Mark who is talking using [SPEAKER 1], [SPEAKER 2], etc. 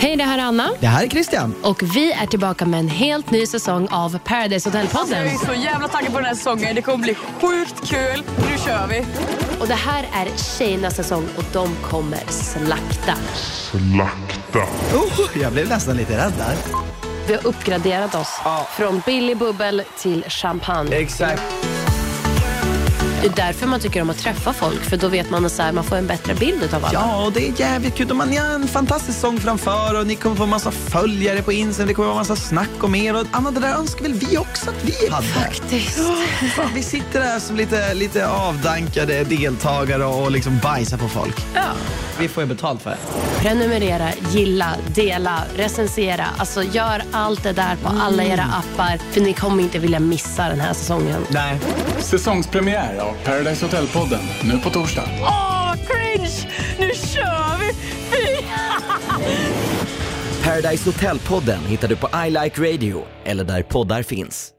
[SPEAKER 1] Hej, det här är Anna.
[SPEAKER 2] Det här är Christian.
[SPEAKER 1] Och vi är tillbaka med en helt ny säsong av Paradise
[SPEAKER 3] Alltså, jag
[SPEAKER 1] Hotel-podden.
[SPEAKER 3] är så jävla taggad på den här säsongen. Det kommer bli sjukt kul. Nu kör vi.
[SPEAKER 1] Och det här är tjejernas säsong och de kommer slakta.
[SPEAKER 4] Slakta.
[SPEAKER 2] Oh, jag blev nästan lite rädd där.
[SPEAKER 1] Vi har uppgraderat oss från billig bubbel till champagne.
[SPEAKER 5] Exakt.
[SPEAKER 1] Det är därför man tycker om att träffa folk, för då vet man att så här, man får en bättre bild av alla.
[SPEAKER 2] Ja, och det är jävligt kul. Och man har en fantastisk sång framför och ni kommer få massa följare på Instagram. Det kommer vara massa snack om er. Och Anna, det där önskar väl vi också att vi hade?
[SPEAKER 1] Faktiskt.
[SPEAKER 2] Ja, fan, vi sitter här som lite, lite avdankade deltagare och liksom bajsar på folk.
[SPEAKER 5] Vi får ju betalt för det.
[SPEAKER 1] Prenumerera, gilla, dela, recensera. Alltså gör allt det där på alla era appar, för ni kommer inte vilja missa den här säsongen.
[SPEAKER 2] Nej.
[SPEAKER 6] Säsongspremiär av Paradise Hotel-podden nu på torsdag.
[SPEAKER 3] Åh, vad cringe! Nu kör vi! Fy!
[SPEAKER 7] Paradise Hotel-podden hittar du på I Like Radio eller där poddar finns.